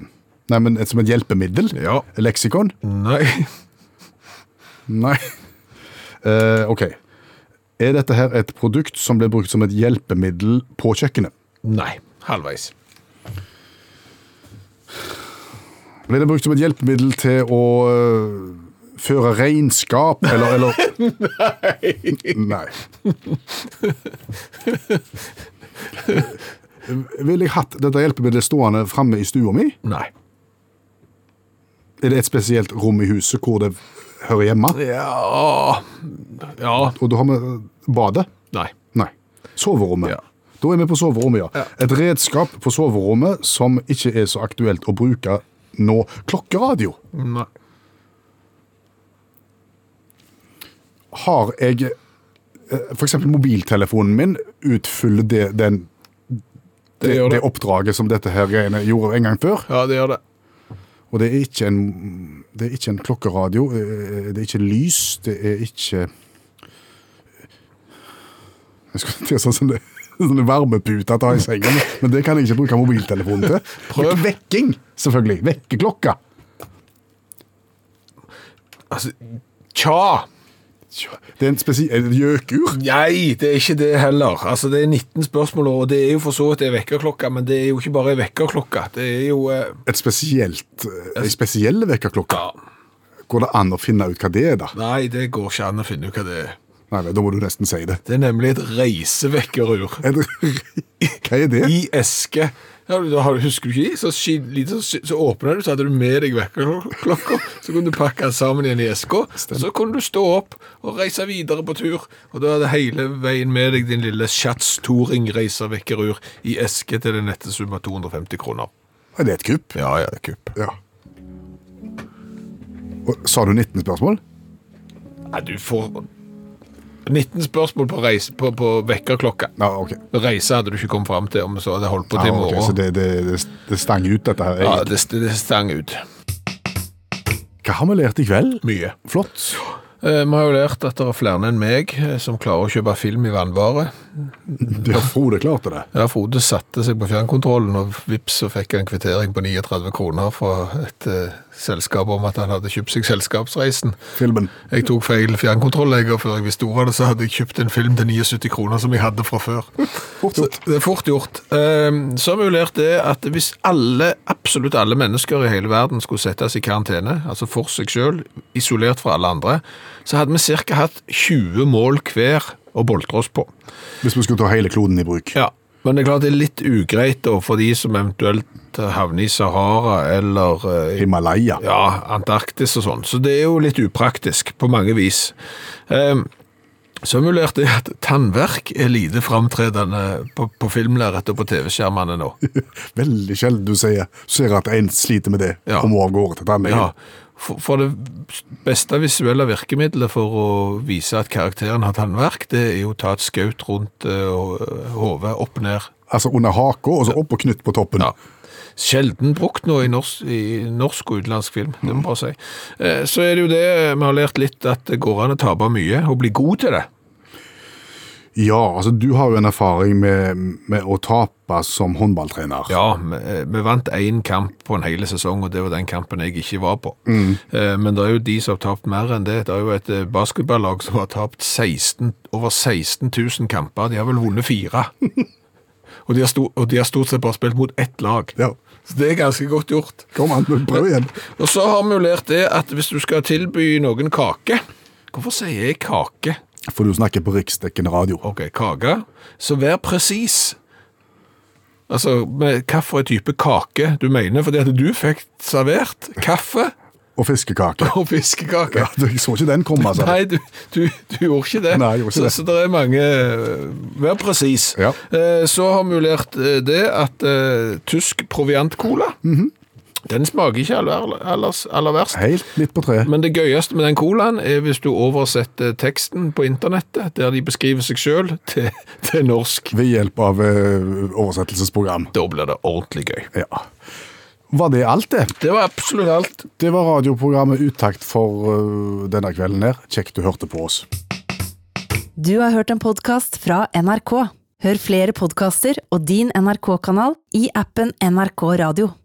S2: Nei, men et, som et hjelpemiddel?
S3: Ja.
S2: Leksikon?
S3: Nei.
S2: Nei. Eh, ok. Er dette her et produkt som blir brukt som et hjelpemiddel på kjøkkenet?
S3: nei. Halvveis.
S2: Blir det brukt som et hjelpemiddel til å eh, føre regnskap, eller, eller Nei. Ville jeg hatt dette hjelpemiddelet stående framme i stua mi?
S3: Nei.
S2: Er det et spesielt rom i huset hvor det hører hjemme?
S3: Ja Ja.
S2: Og da har vi badet.
S3: Nei.
S2: Nei. Soverommet.
S3: Ja.
S2: Da er vi på soverommet, ja. Et redskap på soverommet som ikke er så aktuelt å bruke nå. Klokkeradio.
S3: Nei.
S2: Har jeg eh, For eksempel mobiltelefonen min utfyller det, den, det,
S3: Det
S2: det,
S3: gjør det.
S2: oppdraget som dette her greiene gjorde en gang før.
S3: Ja, det gjør det.
S2: Og det er ikke en, det er ikke en klokkeradio. eh, Det er ikke lys. Det er ikke eh, Jeg skulle til å si sånn det Sånne varmeputer til å ha i sengen, men det kan jeg ikke bruke mobiltelefonen til.
S3: Prøv.
S2: Vekking, selvfølgelig. Vekkerklokka.
S3: Altså, tja.
S2: Det er en spesiell gjøkur.
S3: Nei, det er ikke det heller. Altså, Det er 19 spørsmål, og det er jo for så vidt ei vekkerklokke, men det er jo ikke bare ei vekkerklokke. Det er jo eh,
S2: Et spesielt, eh, en spesiell vekkerklokke.
S3: Ja.
S2: Går det an å finne ut hva det er, da?
S3: Nei, det går ikke an å finne ut hva det er.
S2: Nei, nei, Da må du nesten si det.
S3: Det er nemlig et reisevekkerur
S2: Er det- Hva er det?
S3: i eske. Ja, da har, husker du ikke de? Så, skin- lite, så, så åpner du, så hadde du med deg vekkerklokka. Så kunne du pakke den sammen igjen i eska. Så kunne du stå opp og reise videre på tur. Og da hadde hele veien med deg din lille Schatz-Toring reiservekkerur i eske til den nette sum av 250 kroner.
S2: Er det et kupp?
S3: Ja, ja, kupp.
S2: Ja. Og, sa du 19 spørsmål?
S3: Nei, du får 19 spørsmål på, reise, på, på vekkerklokka.
S2: Ja, ok.
S3: Reise hadde du ikke kommet fram til om så hadde holdt på til i
S2: Ja, ok, Så
S3: morgen.
S2: det, det, det, det stang ut, dette her.
S3: Ja,
S2: egentlig.
S3: det, det stang ut.
S2: Hva har vi lært i kveld?
S3: Mye.
S2: Flott.
S3: Eh, Vi har jo lært at det er flere enn meg eh, som klarer å kjøpe film i vannvare.
S2: Ja, Frode klarte det.
S3: Ja, Frode satte seg på fjernkontrollen, og vips så fikk han en kvittering på 39 kroner fra et eh, selskap om at han hadde kjøpt seg selskapsreisen.
S2: Filmen.
S3: Jeg tok feil fjernkontrollegger før jeg visste ordet av det, så hadde jeg kjøpt en film til 79 kroner som jeg hadde fra før.
S2: Fort gjort.
S3: Så Det er fort gjort. Ehm, Så har vi jo lært det at hvis alle, absolutt alle mennesker i hele verden skulle settes i karantene, altså for seg selv, isolert fra alle andre, så hadde vi cirka hatt 20 mål hver å boltre oss på.
S2: Hvis vi skulle ta hele kloden i bruk.
S3: Ja, men det er klart det er litt ugreit da, for de som eventuelt havner i Sahara eller eh, i
S2: Himalaya.
S3: ja, Antarktis og sånn. Så det er jo litt upraktisk på mange vis. Ehm, så har vi lært det at tannverk er lite framtredende på, på filmlerret og på TV-skjermene nå.
S2: Veldig sjelden du sier, ser at en sliter med det
S3: Ja.
S2: og må av gårde til tannlegen.
S3: Ja, for, for det beste visuelle virkemidlet for å vise at karakteren har tannverk, det er jo å ta et skaut rundt eh, hodet, opp ned.
S2: Altså under haka og så opp og knytt på toppen.
S3: Ja. Sjelden brukt nå i norsk, i norsk og utenlandsk film, det må bare si. Eh, Så er det jo det vi har lært litt, at det går an å tape mye og bli god til det.
S2: Ja, altså du har jo en erfaring med, med å tape som håndballtrener.
S3: Ja, vi, eh, vi vant én kamp på en hel sesong, og det var den kampen jeg ikke var på. Eh, Men det er jo de som har tapt mer enn det. Det er jo et eh, basketballag som har tapt 16, over 16 000 kamper. De har vel vunnet fire. og, de har sto, og de har stort sett bare spilt mot ett lag.
S2: Ja.
S3: Så det er ganske godt gjort.
S2: Kom an, men prøv igjen.
S3: Og så har vi jo lært det at hvis du skal tilby noen kake Hvorfor sier jeg kake?
S2: For du snakker på riksdekkende radio.
S3: Ok, kake. Så vær presis. Altså, med hvilken type kake du mener, fordi at du fikk servert kaffe
S2: Og fiskekake.
S3: og fiskekake.
S2: Ja, du, jeg så ikke den komme, altså.
S3: Nei, du, du, du gjorde ikke det.
S2: Nei, jeg gjorde ikke
S3: så,
S2: det.
S3: så det er mange øh, Vær presis.
S2: Ja.
S3: Eh, Så har vi lært eh, det at eh, tysk proviantcola
S2: Mhm.
S3: Den smaker ikke aller, aller, aller verst.
S2: Helt midt på treet.
S3: Men det gøyeste med den colaen er hvis du oversetter teksten på internettet, der de beskriver seg sjøl, til, til norsk.
S2: Ved hjelp av eh, oversettelsesprogram.
S3: Da blir det ordentlig gøy.
S2: Ja. Var det alt, det?
S3: Det var absolutt alt.
S2: Det var radioprogrammet Utakt for eh, denne kvelden her. Kjekt du hørte på oss.
S1: Du har hørt en podkast fra NRK. Hør flere podkaster og din NRK-kanal i appen NRK Radio.